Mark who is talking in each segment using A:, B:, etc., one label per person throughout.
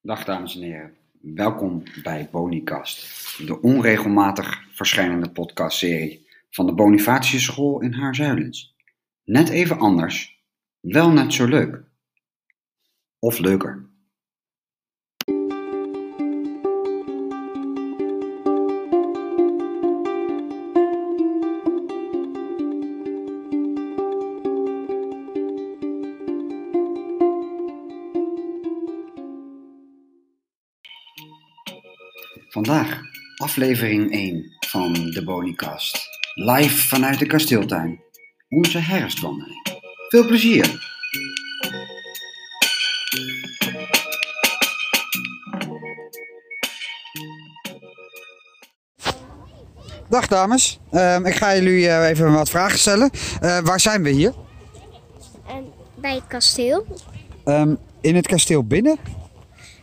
A: Dag dames en heren, welkom bij Bonicast, de onregelmatig verschijnende podcastserie van de Bonifatius School in Haarzuilens. Net even anders, wel net zo leuk. Of leuker. Vandaag aflevering 1 van de Bonicast, live vanuit de kasteeltuin, onze herfstwandeling. Veel plezier! Dag dames, Ehm, ik ga jullie eh, even wat vragen stellen. Eh, waar zijn we hier?
B: En bij het kasteel?
A: Ehm, in het kasteel binnen.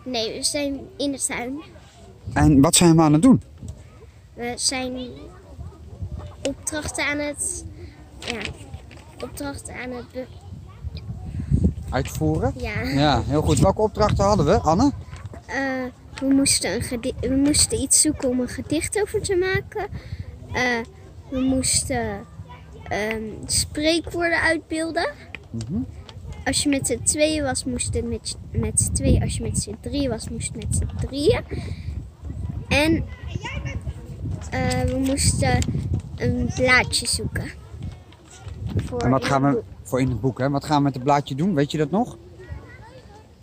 B: Nee, we zijn in de tuin.
A: En wat zijn we aan het doen?
B: We zijn opdrachten aan het. Ja, opdrachten aan het. be-
A: Uitvoeren.
B: Ja.
A: Ja, heel goed. Welke opdrachten hadden we, Anne?
B: Eh, we, moesten een gedi- we moesten iets zoeken om een gedicht over te maken. Eh, we moesten ehm, spreekwoorden uitbeelden.
A: Mhm.
B: Als je met z'n tweeën was, moest het met, z'n- met z'n tweeën. Als je met z'n drieën was, moest het met z'n drieën. En eh, we moesten een blaadje zoeken. Voor
A: En wat
B: in
A: gaan
B: het
A: we voor in het boek, hè? Wat gaan we met het blaadje doen? Weet je dat nog?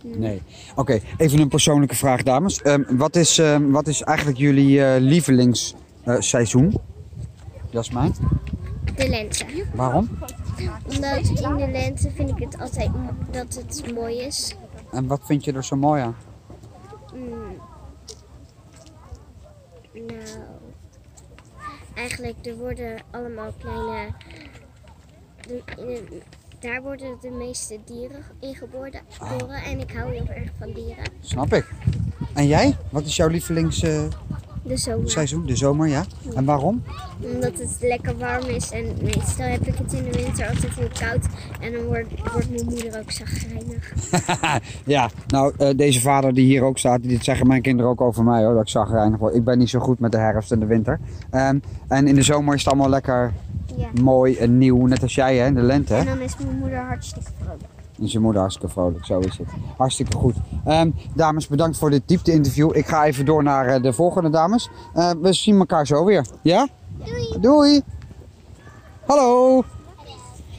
A: Nee. Oké, even een persoonlijke vraag, dames. Ehm, wat, is, ehm, wat is eigenlijk jullie eh, lievelingsseizoen? Jasmijn,
B: boek, De lente.
A: waarom?
B: Omdat in de lente vind ik het altijd mo- dat het mooi is.
A: En wat vind je er zo mooi aan?
B: Mm. Nou, eigenlijk er worden allemaal kleine. de- in de- daar worden de meeste dieren in geboren. geboren En ik hou heel erg van dieren.
A: Snap ik. En jij? Wat is jouw lievelingsseizoen?
B: De zomer.
A: De zomer, ja? En waarom?
B: Dus Omdat het lekker warm is. En meestal heb ik het in de winter altijd heel koud. En dan wordt, wordt mijn moeder ook zagrijnig.
A: ja, nou, eh, deze vader die hier ook staat, dit zeggen mijn kinderen ook over mij hoor, dat ik zagrijnig word. Ik ben niet zo goed met de herfst en de winter. Ehm, en in de zomer is het allemaal lekker
B: Ja.
A: mooi en nieuw, net als jij hè, in de lente. Hè?
B: En dan is mijn moeder hartstikke vrolijk.
A: En zijn moeder hartstikke vrolijk, zo is het. Hartstikke goed. Ehm, dames, bedankt voor dit diepte-interview. Ik ga even door naar eh, de volgende dames. Eh, we zien elkaar zo weer. Ja? Doei. Hallo.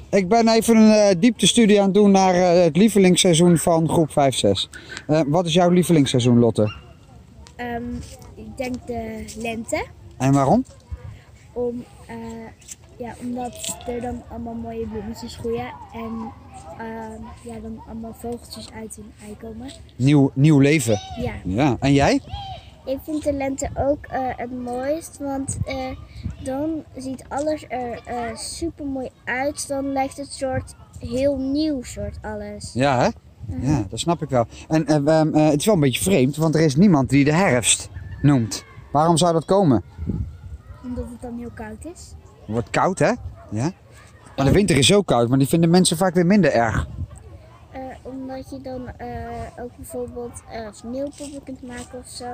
A: Ik ben even een eh, dieptestudie aan het doen naar eh, het lievelingsseizoen van groep 5-6. Eh, wat is jouw lievelingsseizoen, Lotte?
B: Ehm, ik denk de lente.
A: En waarom?
B: Om, eh, ja, omdat er dan allemaal mooie bloemetjes groeien en ehm, ja, dan allemaal vogeltjes uit hun ei komen.
A: Nieuw, nieuw leven.
B: Ja.
A: Ja. En jij?
B: Ik vind de lente ook eh, het mooist, want eh, dan ziet alles er super mooi uit. Dan lijkt het soort heel nieuw soort alles.
A: Ja, hè? Ja, dat snap ik wel. En eh, ehm, eh, het is wel een beetje vreemd, want er is niemand die de herfst noemt. Waarom zou dat komen?
B: Omdat het dan heel koud is.
A: Het wordt koud, hè? Ja. Maar de winter is ook koud, maar die vinden mensen vaak weer minder erg.
B: Eh, omdat je dan eh, ook bijvoorbeeld eh sneeuwpoppen kunt maken of zo.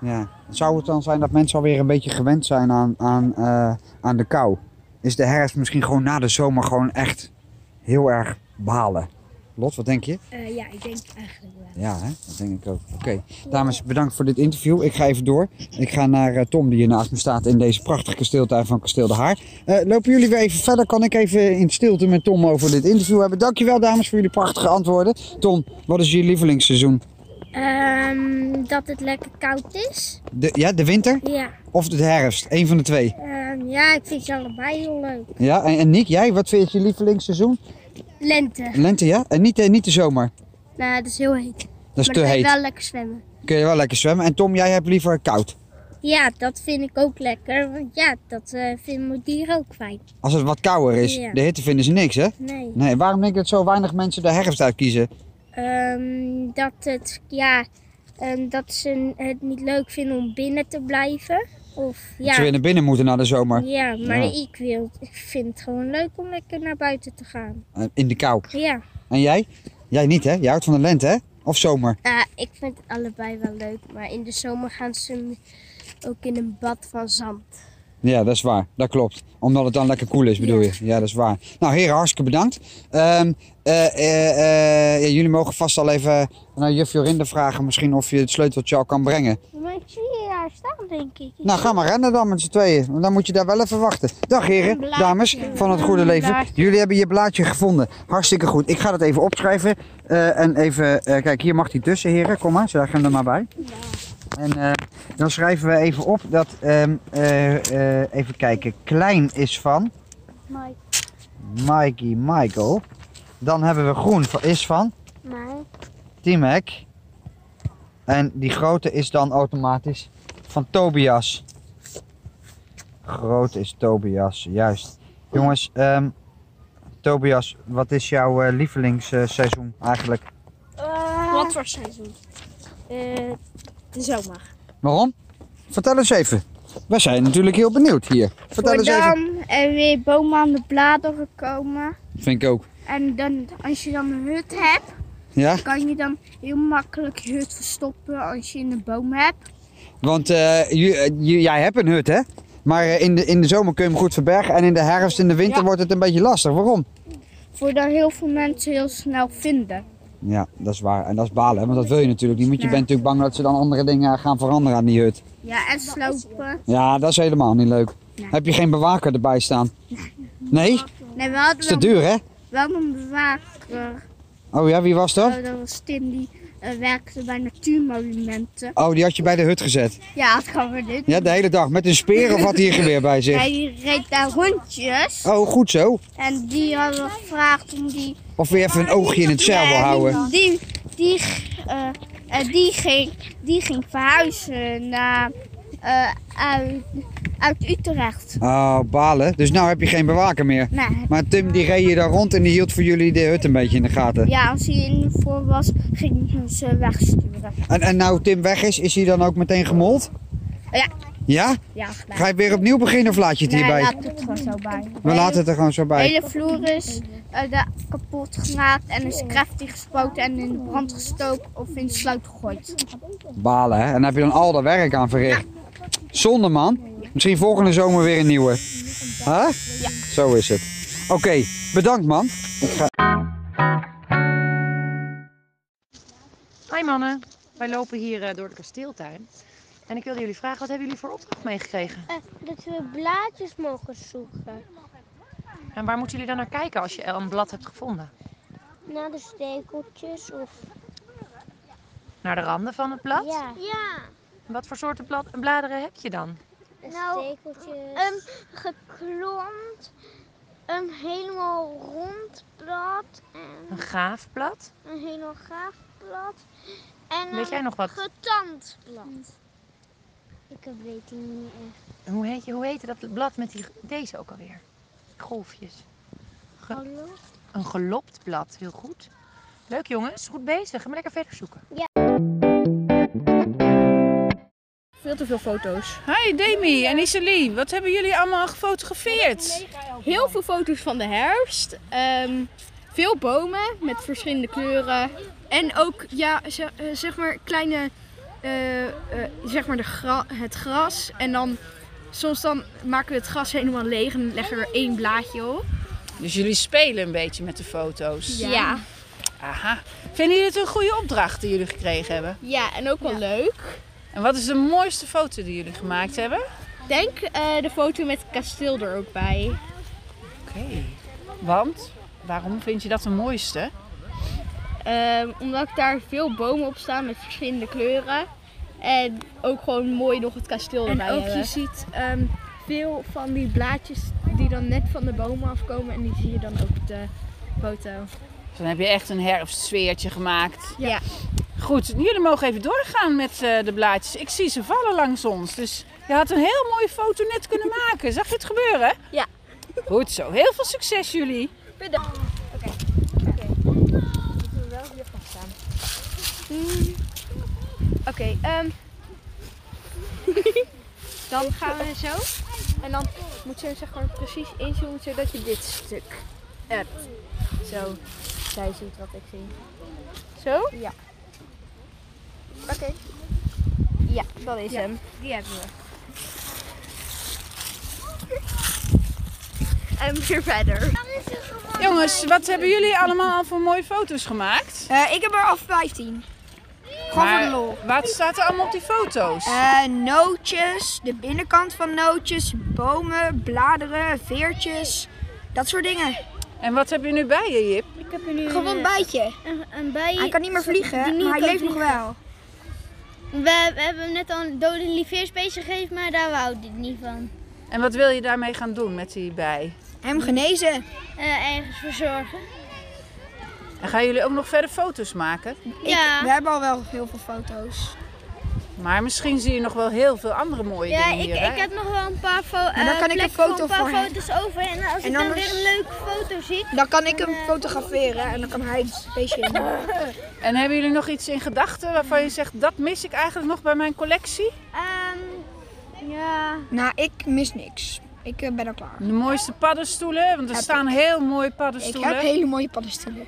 A: Ja. Zou het dan zijn dat mensen alweer een beetje gewend zijn aan, aan, eh, aan de kou? Is de herfst misschien gewoon na de zomer gewoon echt heel erg balen? Lot, wat denk je?
B: Eh, ja, ik denk eigenlijk wel.
A: Ja, hè? dat denk ik ook. Oké, dames, bedankt voor dit interview. Ik ga even door. Ik ga naar eh, Tom, die hier naast me staat in deze prachtige kasteeltuin van Kasteel de Haar. Eh, lopen jullie weer even verder? Kan ik even in stilte met Tom over dit interview hebben? Dankjewel, dames, voor jullie prachtige antwoorden. Tom, wat is je lievelingsseizoen?
B: Ehm, dat het lekker koud is.
A: De, ja, de winter
B: Ja.
A: of de herfst? Eén van de twee.
B: Ehm, ja, ik vind ze allebei heel leuk.
A: Ja, en, en Nick, jij, wat vind je je lievelingsseizoen?
B: Lente.
A: Lente, ja? En niet, eh, niet de zomer.
B: Nou, dat is heel heet.
A: Dat is
B: maar
A: te
B: dan kan je
A: heet.
B: wel lekker zwemmen.
A: Kun je wel lekker zwemmen. En Tom, jij hebt liever koud.
B: Ja, dat vind ik ook lekker. Want ja, dat eh vinden mijn dieren ook fijn.
A: Als het wat kouder is.
B: Ja.
A: De hitte vinden ze niks, hè?
B: Nee.
A: Nee, waarom denk ik dat zo weinig mensen de herfst uitkiezen?
B: Ehm, dat het, ja, ehm, dat ze het niet leuk vinden om binnen te blijven. Of
A: Dat ze weer
B: ja.
A: naar binnen moeten na de zomer.
B: Ja, maar
A: Ja.
B: ik, wil, ik vind het gewoon leuk om lekker naar buiten te gaan.
A: Eh, In de kou.
B: Ja.
A: En jij? Jij niet, hè? Jij houdt van de lente, hè? Of zomer?
B: Eh,
C: Ik vind het allebei wel leuk, maar in de zomer gaan ze ook in een bad van zand.
A: Ja, dat is waar. Dat klopt. Omdat het dan lekker koel is, bedoel
C: Ja.
A: je? Ja, dat is waar. Nou, heren, hartstikke bedankt. Ehm, eh, eh, eh, ja, jullie mogen vast al even naar juf Jorinde vragen misschien of je het sleuteltje al kan brengen.
C: Maar ik zie je daar staan, denk ik.
A: Nou, ga maar rennen dan met z'n tweeën. Want dan moet je daar wel even wachten. Dag heren,
C: Een blaadje.
A: dames van het goede
C: Een
A: leven.
C: blaadje.
A: Jullie hebben je blaadje gevonden. Hartstikke goed. Ik ga dat even opschrijven. Eh, en even, eh, kijk, hier mag die tussen heren. Kom maar, zeg hem er maar bij. En eh, dan schrijven we even op dat, ehm, eh, eh, even kijken, klein is van
C: Mike.
A: Mikey Michael. Dan hebben we groen van- is van
C: Maar
A: Timek. En die grote is dan automatisch van Tobias. Groot is Tobias, juist. Jongens, ehm, Tobias, wat is jouw eh, lievelingsseizoen eigenlijk?
B: Wat voor seizoen? Eh de zomer.
A: Waarom? Vertel eens even. Wij zijn natuurlijk heel benieuwd hier. Vertel eens even.
B: er eh, weer bomen aan de bladeren komen.
A: Vind ik ook.
B: En dan, als je dan een hut hebt,
A: Ja?
B: kan je dan heel makkelijk je hut verstoppen als je in een boom hebt.
A: Want eh, ju- eh, ju- jij hebt een hut, hè? Maar eh, in, de, in de zomer kun je hem goed verbergen. En in de herfst en de winter
B: Ja.
A: wordt het een beetje lastig. Waarom?
B: Voordat heel veel mensen heel snel vinden.
A: Ja, dat is waar. En dat is balen, hè, want dat wil je natuurlijk niet. Want je bent natuurlijk bang dat ze dan andere dingen gaan veranderen aan die hut.
B: Ja, en slopen.
A: Ja, dat is helemaal niet leuk. Heb je geen bewaker erbij staan? Nee?
B: Nee, we
A: Is
B: hadden
A: te
B: wel,
A: duur, hè?
B: wel een bewaker.
A: Oh ja, wie was dat?
B: Oh, dat was Tim, die eh, werkte bij natuurmonumenten.
A: Oh, die had je bij de hut gezet.
B: Ja, dat gaan we dit.
A: Ja, de hele dag. Met een speer of had hij er weer bij zich?
B: Hij reed daar rondjes.
A: Oh, goed zo.
B: En die hadden we gevraagd om die.
A: Of weer even een oogje in het zeil wil houden.
B: En Die, die, eh, eh, die, ging, die ging verhuizen naar, eh, uit, uit Utrecht. Nou,
A: Oh, balen. Dus nou heb je geen bewaker meer.
B: Nee.
A: Maar Tim die reed hier daar rond en die hield voor jullie de hut een beetje in de gaten.
B: Ja, als hij in de voor was, ging hij ze wegsturen.
A: En, en nou Tim weg is, is hij dan ook meteen gemold?
B: Ja.
A: Ja?
B: Ja,
A: Ga je weer opnieuw beginnen of laat je het
B: nee,
A: hierbij?
B: laat het gewoon zo bij.
A: We laten het er gewoon zo
B: De
A: bij.
B: hele vloer is eh, daar kapot gemaakt en is krachtig gespoten en in brand gestoken of in het sluit gegooid.
A: Balen, hè? En daar heb je dan al dat werk aan verricht. Zonde, man. Misschien volgende zomer weer een nieuwe. Huh? Ja. Zo is het. Oké, bedankt, man.
D: Hi mannen, wij lopen hier eh, door de kasteeltuin. En ik wilde jullie vragen, wat hebben jullie voor opdracht meegekregen?
C: Eh, dat we blaadjes mogen zoeken.
D: En waar moeten jullie dan naar kijken als je een blad hebt gevonden?
C: Naar Nou, de stekeltjes of...
D: Naar de randen van het blad?
C: Ja,
D: Wat voor soorten blad- bladeren heb je dan?
C: de
E: nou,
C: stekeltjes. Een geklont, een helemaal rond blad en
D: Een gaaf blad?
C: een helemaal gaaf blad. En
D: Weet jij
C: een
D: nog wat?
C: getand blad. Ik weet het niet echt.
D: Hoe heet, je, hoe heette dat blad met die, deze ook alweer? Golfjes. Ge-
C: Hallo?
D: Een gelopt blad, heel goed. Leuk jongens, goed bezig. Ga maar lekker verder zoeken.
F: Veel te veel foto's. Hi Demi en Isalie, wat hebben jullie allemaal gefotografeerd?
G: Heel veel foto's van de herfst. ehm, veel bomen met verschillende kleuren. En ook, ja, ze- eh, zeg maar, kleine, eh, eh, zeg maar de gra- het gras. En dan, soms dan maken we het gras helemaal leeg en leggen we er één blaadje op.
F: Dus jullie spelen een beetje met de foto's.
G: Ja, ja,
F: Aha. Vinden jullie het een goede opdracht die jullie gekregen hebben?
G: en ook wel leuk.
F: En wat is de mooiste foto die jullie gemaakt hebben?
G: Ik Denk eh, de foto met het kasteel er ook bij.
F: Oké. Want, waarom vind je dat de mooiste?
G: Ehm, omdat daar veel bomen op staan met verschillende kleuren. En ook gewoon mooi nog het kasteel
H: En
G: erbij
H: ook
G: hebben.
H: je ziet ehm, veel van die blaadjes die dan net van de bomen afkomen en die zie je dan ook op de foto.
F: Dus dan heb je echt een herfstsfeertje gemaakt.
H: Ja.
F: Goed, jullie mogen even doorgaan met eh, de blaadjes. Ik zie ze vallen langs ons. Dus je had een heel mooie foto net kunnen maken. Zag je het gebeuren?
G: Ja.
F: Goed zo. Heel veel succes jullie.
H: Oké, ehm, dan gaan we zo. En dan moet je zeg maar precies inzoomen zodat je dit stuk hebt. Zo, zij ziet wat ik zie. Zo? Ja. Ja, dat is hem. Die hebben we. En weer verder.
F: Jongens, wat hebben jullie allemaal al voor mooie foto's gemaakt?
H: ik heb er al 15. Gewoon voor de
F: Maar
H: lol.
F: Wat staat er allemaal op die foto's?
H: Eh, nootjes, de binnenkant van nootjes, bomen, bladeren, veertjes, dat soort dingen.
F: En wat heb je nu bij je, Jip?
E: Ik heb er nu
H: Gewoon een
E: een,
H: bijtje.
E: een, een bij.
H: Hij kan niet meer
E: die
H: vliegen,
E: niet
H: maar hij
E: kan
H: leeft nog wel.
E: We, we hebben hem net al een dode lieveersbeestje gegeven, maar daar wou hij niet van.
F: En wat wil je daarmee gaan doen met die bij?
H: Hem genezen.
E: Eh, ergens voor zorgen.
F: En gaan jullie ook nog verder foto's maken?
E: ja.
H: We hebben al wel heel veel foto's.
F: Maar misschien zie je nog wel heel veel andere mooie
E: Ja,
F: dingen
E: ik,
F: hier. hè?
E: ik heb nog wel een paar, fo
H: dan
E: eh,
H: kan ik een
E: plekken
H: foto
E: een paar
H: voor hem.
E: foto's over. En als
H: En
E: ik dan
H: anders-
E: weer een leuke foto zie,
H: Dan kan ik hem fotograferen en dan kan hij het beestje in.
F: En hebben jullie nog iets in gedachten waarvan je zegt, dat mis ik eigenlijk nog bij mijn collectie?
E: ehm, ja,
H: Nou, ik mis niks. Ik eh, ben al klaar.
F: De mooiste paddenstoelen, want er
H: Heb
F: staan heel mooie
H: Ik
F: paddenstoelen.
H: heb hele mooie paddenstoelen.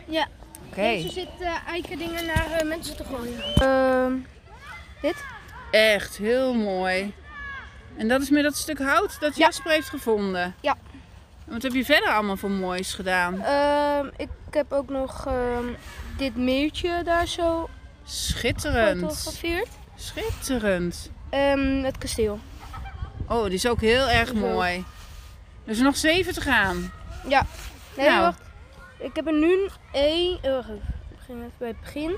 F: Oké.
C: zit eh, eiken dingen naar mensen te gooien.
F: Echt heel mooi. En dat is met dat stuk hout dat Jasper heeft gevonden?
C: Ja.
F: En Wat heb je verder allemaal voor moois gedaan?
C: Ehm, ik heb ook nog ehm, dit meertje daar zo
F: Schitterend.
C: gefotografeerd.
F: Schitterend.
C: Ehm, het kasteel.
F: Oh, die is ook heel erg
C: Zo.
F: mooi. Er is nog zeven te gaan.
C: Nee,
F: Nou.
C: wacht. Ik heb er nu één. eh, Wacht even. Ik begin even bij het begin.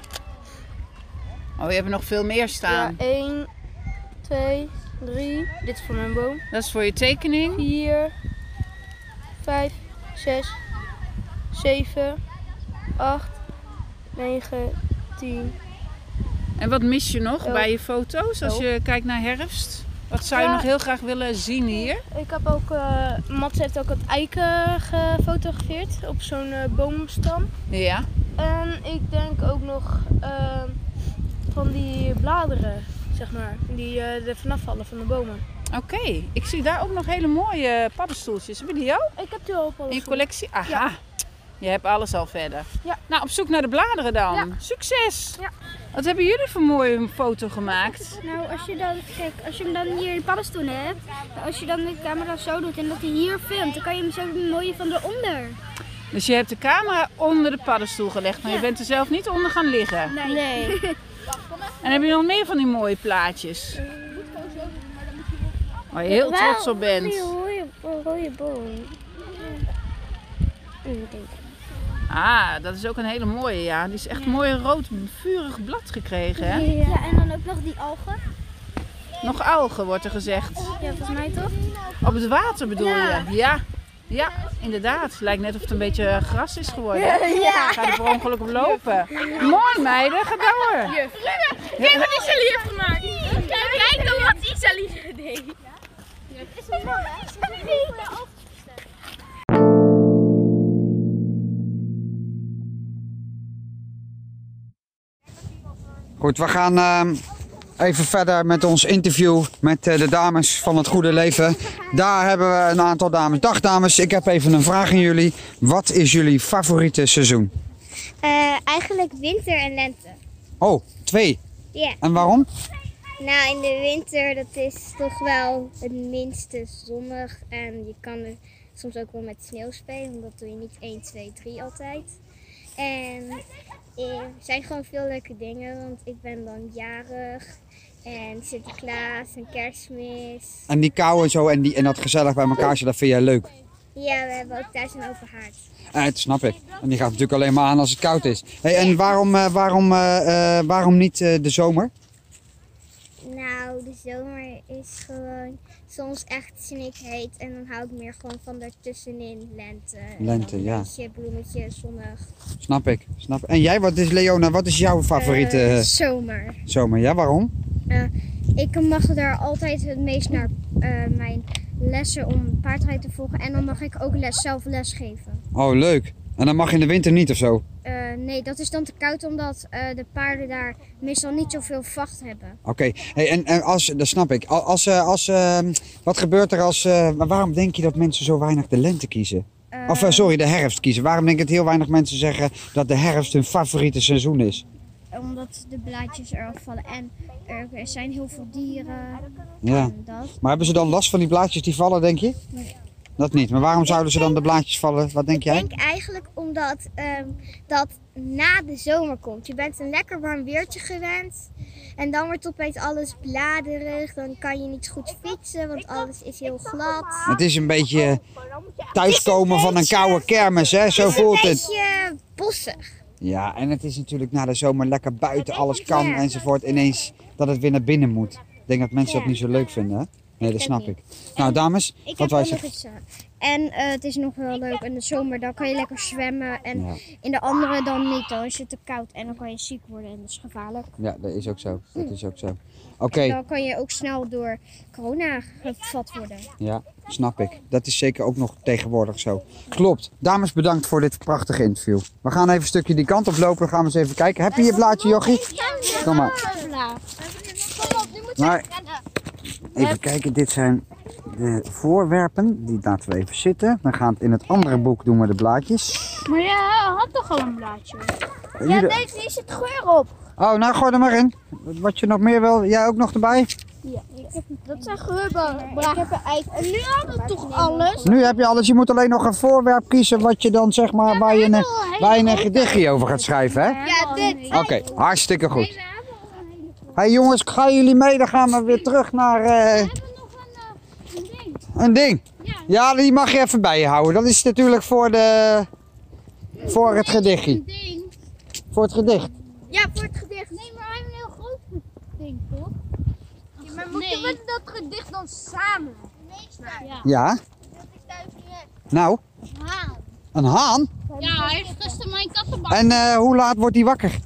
F: Oh, je hebt er nog veel meer
C: Ja,
F: staan.
C: één, twee, drie. Dit is voor mijn boom.
F: Dat is voor je tekening.
C: Vier, vijf, zes, zeven, acht, negen, tien.
F: En wat mis je nog
C: Elf.
F: bij je foto's als
C: Elf.
F: je kijkt naar herfst? Wat zou je
C: Ja.
F: nog heel graag willen zien hier?
C: Ik heb ook, eh Mats heeft ook het eiken gefotografeerd op zo'n eh, boomstam.
F: Ja.
C: En ik denk ook nog eh, van die bladeren, zeg maar, die eh, er vanaf vallen van de bomen.
F: Oké, ik zie daar ook nog hele mooie paddenstoeltjes. Hebben die jou?
C: Ik heb die al op
F: In je
C: alles.
F: collectie? Aha. Je hebt alles al verder.
C: Ja.
F: Nou, op zoek naar de bladeren dan. Succes! Ja. Wat hebben jullie voor mooie foto gemaakt?
B: Nou, als je dan, kijk, als je hem dan hier in de paddenstoelen hebt, nou, als je dan de camera zo doet en dat hij hier filmt, dan kan je hem zo mooi van eronder.
F: Dus je hebt de camera onder de paddenstoel gelegd, maar je bent er zelf niet onder gaan liggen.
B: Nee.
F: En heb je nog meer van die mooie plaatjes? Waar je heel trots op bent.
B: Een rode boom.
F: Ah, dat is ook een hele mooie, ja. Die is echt mooi rood, vurig blad gekregen, hè?
B: Ja, en dan ook nog die algen.
F: Nog algen, wordt er gezegd.
B: Ja, volgens mij toch?
F: Op het water bedoel je? Ja. Ja, inderdaad. Het lijkt net of het een beetje gras is geworden. Ja. Ga er per ongeluk op lopen. Mooi meiden, ga door.
B: Kijk dan wat Isali deed.
A: Goed, we gaan ehm, even verder met ons interview met eh, de dames van het Goede Leven. Daar hebben we een aantal dames. Dag dames, ik heb even een vraag aan jullie. Wat is jullie favoriete seizoen?
B: Eh, eigenlijk winter en lente.
A: Oh, twee.
B: Ja.
A: En waarom?
B: Nou, in de winter, dat is toch wel het minste zonnig. En je kan er soms ook wel met sneeuw spelen, want dat doe je niet 1, 2, 3 altijd. En eh, er zijn gewoon veel leuke dingen, want ik ben dan jarig. En Sinterklaas en kerstmis.
A: En die kou en zo en, die, en dat gezellig bij elkaar zitten, dat vind jij leuk.
B: Ja, we hebben ook thuis een open haard.
A: Eh, dat snap ik. En die gaat natuurlijk alleen maar aan als het koud is. Hey, en waarom, eh, waarom, eh, eh, waarom niet eh, de zomer?
B: Nou, de zomer is gewoon soms echt snikheet. En dan hou ik meer gewoon van daartussenin lente. En dan
A: Lente,
B: een
A: ja.
B: beetje bloemetje, zonnig.
A: Snap ik. Snap. En jij, wat is Leona, wat is jouw favoriete
B: Eh,
A: eh,
B: zomer.
A: zomer? Ja, waarom?
B: Ik mag daar altijd het meest naar eh, mijn lessen om paardrijden te volgen. En dan mag ik ook les, zelf les geven.
A: Oh, leuk. En dan mag je in de winter niet of zo?
B: Eh, nee, dat is dan te koud omdat eh, de paarden daar meestal niet zoveel vacht hebben.
A: Oké, hey, en, en als, dat snap ik. Al- Als, eh, als, eh, wat gebeurt er als, eh, maar waarom denk je dat mensen zo weinig de lente kiezen?
B: Eh,
A: Of eh, sorry, de herfst kiezen. Waarom denk ik dat heel weinig mensen zeggen dat de herfst hun favoriete seizoen is?
B: omdat de blaadjes eraf vallen. En er zijn heel veel dieren
A: Ja.
B: en dat.
A: Maar hebben ze dan last van die blaadjes die vallen, denk je? Dat niet. Maar waarom zouden ze dan de blaadjes vallen? Wat denk jij?
I: Ik denk eigenlijk omdat ehm, dat na de zomer komt. Je bent een lekker warm weertje gewend. En dan wordt opeens alles bladerig. Dan kan je niet goed fietsen, want alles is heel glad.
A: Het is een beetje thuiskomen van een koude kermis, hè? Zo voelt
I: Een
A: het.
I: beetje bossig.
A: Ja, en het is natuurlijk na de zomer lekker buiten, alles kan enzovoort. Ineens dat het weer naar binnen moet. Ik denk dat mensen dat niet zo leuk vinden, hè? Nee, dat snap ik. Nou, dames,
B: Ik
A: wat
B: heb
A: wij
B: ook nog
A: zeggen.
B: iets aan. En eh, het is nog wel leuk in de zomer, dan kan je lekker zwemmen. En
A: Ja.
B: in de andere dan niet, dan is het te koud en dan kan je ziek worden en dat is gevaarlijk.
A: Ja, dat is ook zo.
B: Hm.
A: Dat is ook zo. Oké.
B: En dan kan je ook snel door corona gevat worden.
A: Ja, snap ik. Dat is zeker ook nog tegenwoordig zo. Klopt. Dames, bedankt voor dit prachtige interview. We gaan even een stukje die kant op lopen. We gaan eens even kijken. Heb je je blaadje, Jochie? Kom maar. Maar, even kijken. Dit zijn de voorwerpen. Die laten we even zitten. Dan gaan we in het andere boek doen we de blaadjes.
H: Maar jij eh, had toch al een blaadje?
A: Ja, nee,
H: Deze is het geur op.
A: Oh, nou gooi er maar in. Wat je nog meer wil. Jij ook nog erbij?
H: Dat zijn geurballen. Maar ik heb een ei. En nu hadden we toch alles?
A: Nu heb je alles. Je moet alleen nog een voorwerp kiezen wat je dan zeg maar waar je een, waar je een gedichtje over gaat schrijven, hè?
H: Ja, dit.
A: Oké, hartstikke goed. hey jongens, gaan jullie mee? Dan gaan we weer terug naar. eh,
H: eh,
A: een ding. Ja, die mag je even bij je houden. Dat is natuurlijk voor de. Voor het gedichtje. Voor het gedicht.
H: Ja, voor het gedicht. Nee, maar hij heeft een heel groot ding, toch? maar moeten we dat gedicht dan samen?
A: Ja. Nou, een haan.
H: Ja, hij heeft gisteren mijn kattenbak.
A: En eh, hoe laat wordt hij wakker?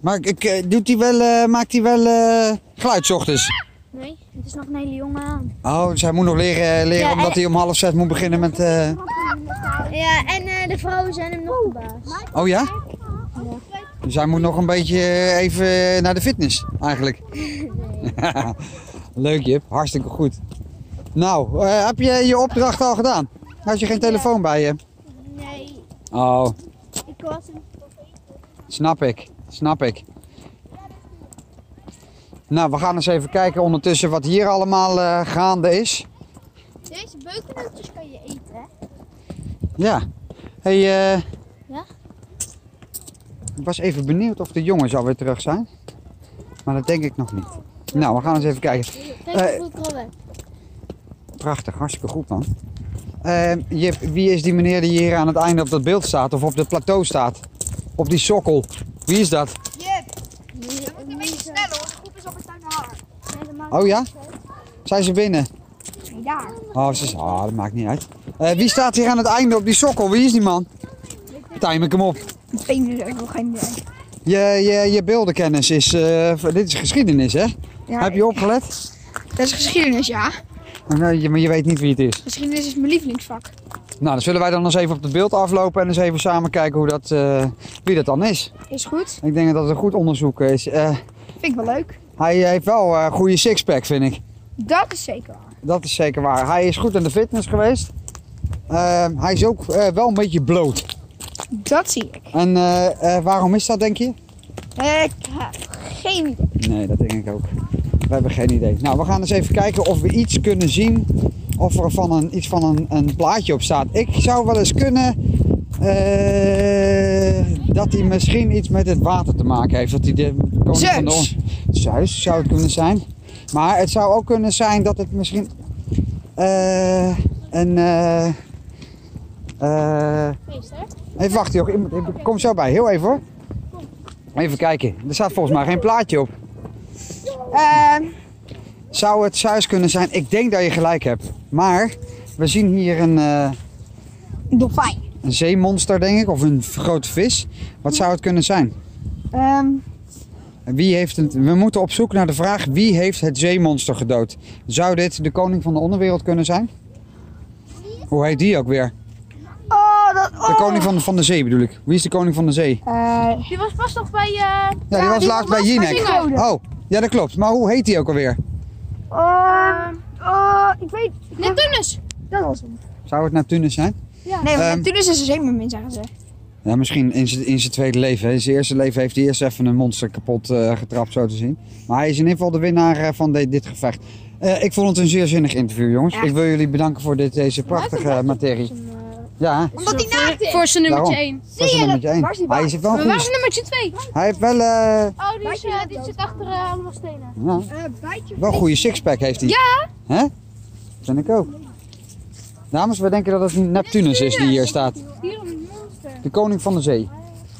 A: Maar ik, eh, doet hij wel, eh, maakt hij wel eh geluid 's ochtends?
B: Nee, het is nog een hele jonge eh, aan.
A: Oh, dus hij moet nog leren, leren omdat hij om half zes moet beginnen met... eh,
B: Ja, en eh, de vrouwen zijn hem nog de baas.
A: Oh ja? Dus hij moet nog een beetje eh, even naar de fitness, eigenlijk. Leuk Jip, hartstikke goed. Nou, eh, heb je je opdracht al gedaan? Had je geen telefoon bij je?
B: Nee,
A: Oh,
B: ik was hem.
A: snap ik, snap ik. Nou, we gaan eens even kijken ondertussen wat hier allemaal eh, gaande is.
B: Deze beukennootjes kan je eten, hè?
A: Ja. Hey, eh.
B: Ja?
A: Ik was even benieuwd of de jongens alweer terug zijn. Maar dat denk ik nog niet. Nou, we gaan eens even kijken. Eh, prachtig, hartstikke goed man. Ehm, Jip, wie is die meneer die hier aan het einde op dat beeld staat? Of op dat plateau staat? Op die sokkel. Wie is dat? Oh ja? Zijn ze binnen? Ja. Oh, ze is... Oh, dat maakt niet uit. Eh, wie staat hier aan het einde op die sokkel? Wie is die man? Time ik hem op. Je, je, je beeldenkennis is... eh, dit is geschiedenis, hè? Heb je opgelet?
J: Dat is geschiedenis, ja.
A: Nee, je- maar je weet niet wie het is.
J: Geschiedenis is mijn lievelingsvak.
A: Nou, dan zullen wij dan eens even op het beeld aflopen en eens even samen kijken hoe dat, eh, wie dat dan is.
J: Is goed.
A: Ik denk dat het een goed onderzoek is. Eh,
J: Vind ik wel leuk.
A: hij heeft wel een goede sixpack, vind ik.
J: Dat is zeker waar.
A: Dat is zeker waar. Hij is goed in de fitness geweest. Eh, hij is ook eh, wel een beetje bloot.
J: Dat zie ik.
A: En eh, eh, waarom is dat, denk je?
J: Ik heb geen idee.
A: Nee, dat denk ik ook. We hebben geen idee. Nou, we gaan eens even kijken of we iets kunnen zien. Of er van een, iets van een, een plaatje op staat. Ik zou wel eens kunnen. eh, dat hij misschien iets met het water te maken heeft. Dat hij de koning van de
J: Zeus.
A: Zeus zou het kunnen zijn. Maar het zou ook kunnen zijn dat het misschien. eh, een. eh, eh, even wachten, joh. Iemand- ik Kom zo bij. Heel even hoor. Even kijken. Er staat volgens mij geen plaatje op.
J: Ehm,
A: Zou het Zeus kunnen zijn? Ik denk dat je gelijk hebt. Maar we zien hier een, eh,
J: dolfijn.
A: een zeemonster, denk ik. Of een v- grote vis. Wat zou het kunnen zijn?
J: Ehm,
A: Wie heeft het, we moeten op zoek naar de vraag: wie heeft het zeemonster gedood? Zou dit de koning van de onderwereld kunnen zijn? Hoe heet die ook weer?
J: oh, dat... Oh.
A: De koning van de, van de zee bedoel ik. Wie is de koning van de zee?
J: Eh,
C: Die was pas nog bij... eh
A: Ja, die was laatst bij Jinek. Oh, ja, dat klopt. Maar hoe heet die ook alweer?
J: ehm, oh, ik weet... Neptunus. Dat was hem.
A: Zou het Neptunus zijn?
J: Nee, maar
A: Ehm.
J: Neptunus is een zeemermin, zeggen ze.
A: Ja, misschien in zijn in zijn tweede leven. In zijn eerste leven heeft hij eerst even een monster kapot eh, getrapt, zo te zien. Maar hij is in ieder geval de winnaar eh, van de- dit gevecht. Eh, ik vond het een zeer zinnig interview, jongens. Ik wil jullie bedanken voor dit, deze prachtige materie.
C: eh,
A: Ja,
C: Voor zijn
A: daarom.
C: nummertje 1.
A: Dat is een nummertje één. Maar hij zit wel
C: Maar waar is
A: goed.
C: nummertje 2?
A: Hij heeft wel, eh,
C: Oh, die, is, eh, die zit achter eh, allemaal stenen.
A: ja, wel een goede sixpack heeft hij. Ja! Hè? Dat vind ik ook. Dames, we denken dat het Neptunus is die hier staat. De koning van de zee.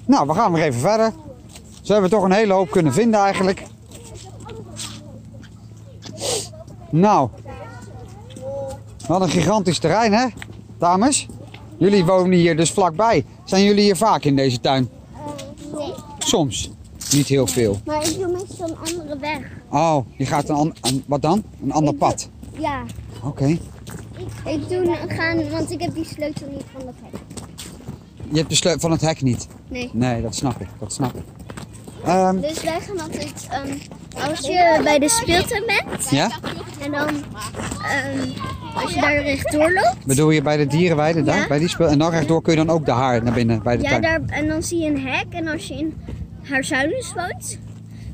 A: Nou, we gaan weer even verder. Ze hebben toch een hele hoop kunnen vinden eigenlijk. Nou. Wat een gigantisch terrein, hè? Dames, jullie wonen hier dus vlakbij. Zijn jullie hier vaak in deze tuin? Soms. Niet heel veel.
B: Maar ik doe meestal een andere weg.
A: Oh, je gaat een, an- een- wat dan? Een ander pad.
B: Ja,
A: Oké.
B: ik doe gaan, want ik heb die sleutel niet van dat hek.
A: Je hebt de sleutel van het hek niet.
B: Nee.
A: Nee, dat snap ik. Dat snap ik. Ehm,
B: Dus wij gaan altijd, ehm, als je bij de speeltuin bent
A: ja?
B: en dan ehm, als je daar rechtdoor loopt,
A: Bedoel je bij de dierenweide daar?
B: Ja.
A: Bij die speel en dan rechtdoor kun je dan ook de haar naar binnen bij de
B: ja,
A: tuin.
B: daar, en dan zie je een hek en als je in Haarzuilens woont,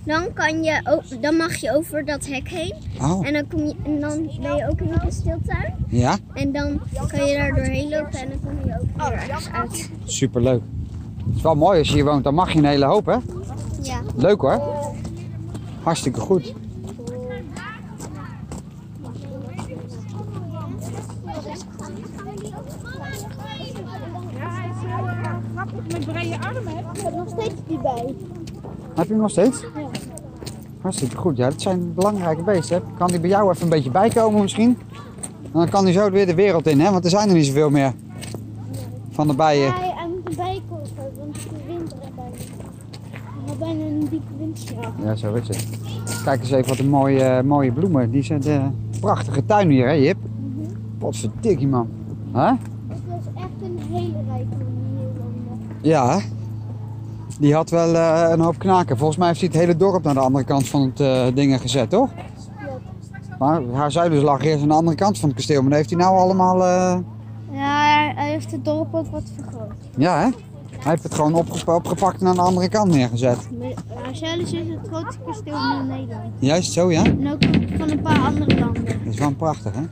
B: dan, kan je, o- dan mag je over dat hek heen
A: Oh,
B: en dan, kom je, en dan ben je ook in de speeltuin
A: ja?
B: en dan kan je daar doorheen lopen en dan kom je ook weer ergens uit.
A: Superleuk. Het is wel mooi als je hier woont. Dan mag je een hele hoop, hè?
B: Ja.
A: Leuk hoor. Hartstikke goed. Heb je hem nog steeds? Hartstikke goed. Ja, dat zijn belangrijke beesten. Hè? Kan die bij jou even een beetje bijkomen misschien? En dan kan die zo weer de wereld in, hè? Want er zijn er niet zoveel meer van de bijen.
B: en de bijkoper, want het is winter erbij. We hebben bijna een dikke winterjaar.
A: Ja, zo is het. Kijk eens even wat een mooie, mooie bloemen. Die zijn de prachtige tuin hier, hè Jip? Potverdikkie, man. Hè?
B: Het was echt een hele rijke manier. eh,
A: Ja. hè? Die had wel eh, een hoop knaken. Volgens mij heeft hij het hele dorp naar de andere kant van het eh dingen gezet, toch? Maar haar zuiders lag eerst aan de andere kant van het kasteel. Maar dat heeft hij nou allemaal... eh,
B: Ja, hij heeft het dorp ook wat vergroot.
A: Ja, hè? Hij heeft het gewoon opge- opgepakt en aan de andere kant neergezet.
B: eh, Marcellus is dus het grootste kasteel van Nederland.
A: Juist zo, ja?
B: En ook van een paar andere landen.
A: Dat is wel prachtig, hè?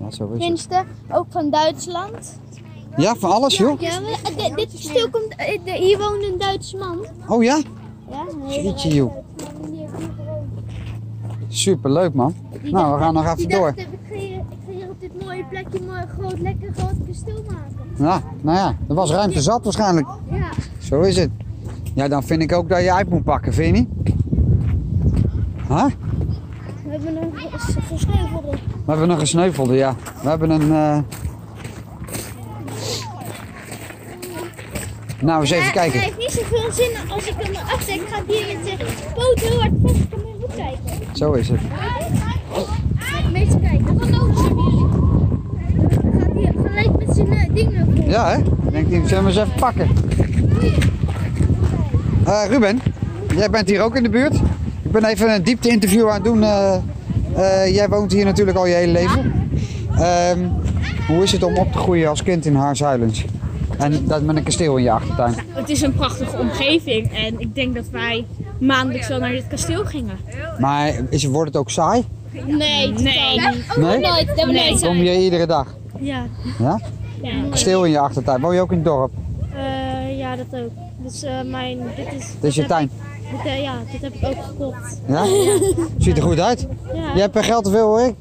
A: Ja, zo is het.
B: Tenminste, ook van Duitsland.
A: Ja, van alles, joh.
B: Ja, maar, eh, dit- dit kasteel komt... eh, de- Hier woont een Duits man.
A: Oh ja?
B: Ja, een hele
A: Jeetje,
B: rijke
A: joh.
B: Duits man, die heeft overal-
A: Superleuk, man.
B: Die
A: Nou, we
B: dacht-
A: gaan nog even
B: die
A: door.
B: dacht, eh, Ik ga hier- ik ga hier op dit mooie plekje mooi groot, lekker groot kasteel maken.
A: Ja, nou ja, er was ruimte zat waarschijnlijk.
B: Ja.
A: Zo is het. Ja, dan vind ik ook dat je uit moet pakken, vind je niet? Huh?
B: We hebben een gesneuvelde.
A: We hebben een gesneuvelde, ja. We hebben een... eh, Nou, eens even kijken.
B: Hij heeft niet zoveel zin als ik hem erachter. Ik ga hier met de poot heel hard vast. Ik kan mijn hoek kijken.
A: Zo is het.
B: Mensen kijken. Wat ook Gaat hier gelijk met zijn eh, ding naar voren.
A: Ja, hè? Ik denk, die zullen we eens even pakken. Eh, Ruben, jij bent hier ook in de buurt. Ik ben even een diepte-interview aan het doen. eh. Eh, jij woont hier natuurlijk al je hele leven. Ehm, hoe is het om op te groeien als kind in Haars Islands? En dat met een kasteel in je achtertuin.
K: Het is een prachtige omgeving en ik denk dat wij maandelijks wel naar dit kasteel gingen.
A: Maar is, wordt het ook saai?
K: Nee, nee.
A: Nee?
K: nee. nee.
A: Kom je iedere dag?
K: Ja.
A: Ja? Kasteel in je achtertuin. Woon je ook in het dorp?
K: Eh, ja, dat ook. Dus mijn, dit is...
A: Het is je tuin.
K: ja, dit heb ik ook gekocht.
A: Ja? Ziet er goed uit. Je hebt eh, geld te veel hoor ik.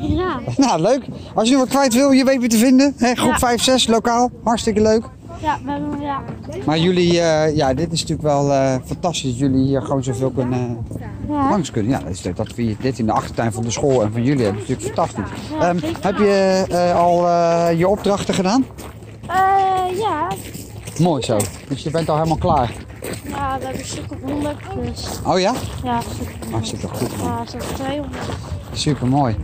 K: Ja.
A: Nou, leuk. Als je nog wat kwijt wil, je weet wie te vinden. Hè? Groep 5, 6, lokaal. Hartstikke leuk.
K: Ja, we hebben, ja.
A: Maar jullie, eh, ja, dit is natuurlijk wel eh, fantastisch dat jullie hier gewoon zoveel kunnen, eh,
K: Ja.
A: langs kunnen. Ja, dat, is, dat we dit in de achtertuin van de school en van jullie hebben, is natuurlijk fantastisch. Ehm, heb je eh, al eh, je opdrachten gedaan?
K: Eh, ja.
A: Mooi zo. Dus je bent al helemaal klaar.
K: ja, we hebben een stuk op 100 dus.
A: Oh ja?
K: Ja, een stuk op
A: Hartstikke
K: 100.
A: goed. man.
K: Ja, zo'n 200.
A: Super mooi.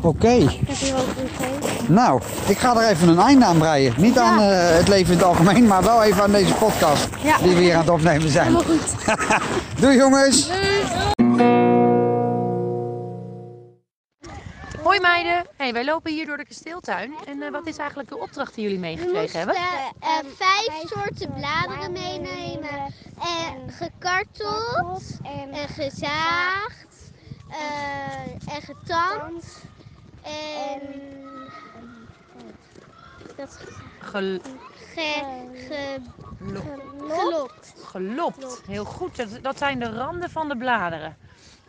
A: Oké.
K: Ik heb hier ook een gegeven.
A: Nou, ik ga er even een einde aan breien. Niet aan eh, het leven in het algemeen, maar wel even aan deze podcast die we hier aan het opnemen zijn. Helemaal goed. Doei jongens.
D: Hoi Hoi meiden. Hey, wij lopen hier door de kasteeltuin. En eh, wat is eigenlijk de opdracht die jullie meegekregen hebben?
B: Eh, vijf soorten bladeren meenemen. En gekarteld, en gezaagd, eh, en getand. En dat
D: Gel-
B: ge, ge,
D: lo-
B: gelokt.
D: gelopt. Heel goed. Dat, dat zijn de randen van de bladeren.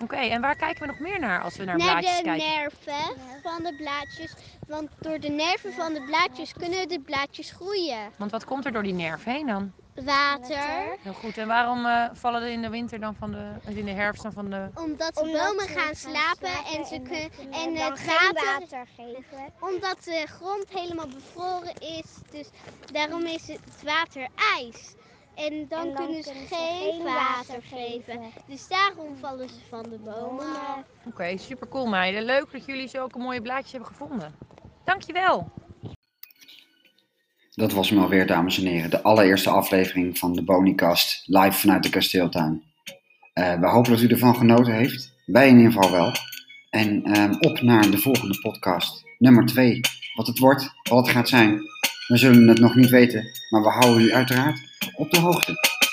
D: Oké, en waar kijken we nog meer naar als we naar,
B: Naar
D: blaadjes
B: de
D: kijken?
B: nerven van de blaadjes. Want door de nerven van de blaadjes kunnen de blaadjes groeien.
D: Want wat komt er door die nerf heen dan?
B: Water.
D: Heel goed. En waarom eh, vallen er in de winter dan van de, of in de herfst dan van de...
B: Omdat de bomen gaan slapen en, ze kunnen, en het water
I: geven.
B: Omdat de grond helemaal bevroren is, dus daarom is het water ijs. En dan, kunnen ze geen, water geven. Dus daarom vallen ze van de bomen af.
D: Oké, super cool meiden. Leuk dat jullie zulke mooie blaadjes hebben gevonden. Dankjewel.
A: Dat was hem alweer, dames en heren. De allereerste aflevering van de Bonicast live vanuit de kasteeltuin. Eh, we hopen dat u ervan genoten heeft. Wij in ieder geval wel. En ehm, op naar de volgende podcast, nummer 2. Wat het wordt, wat het gaat zijn, we zullen het nog niet weten. Maar we houden u uiteraard op de hoogte.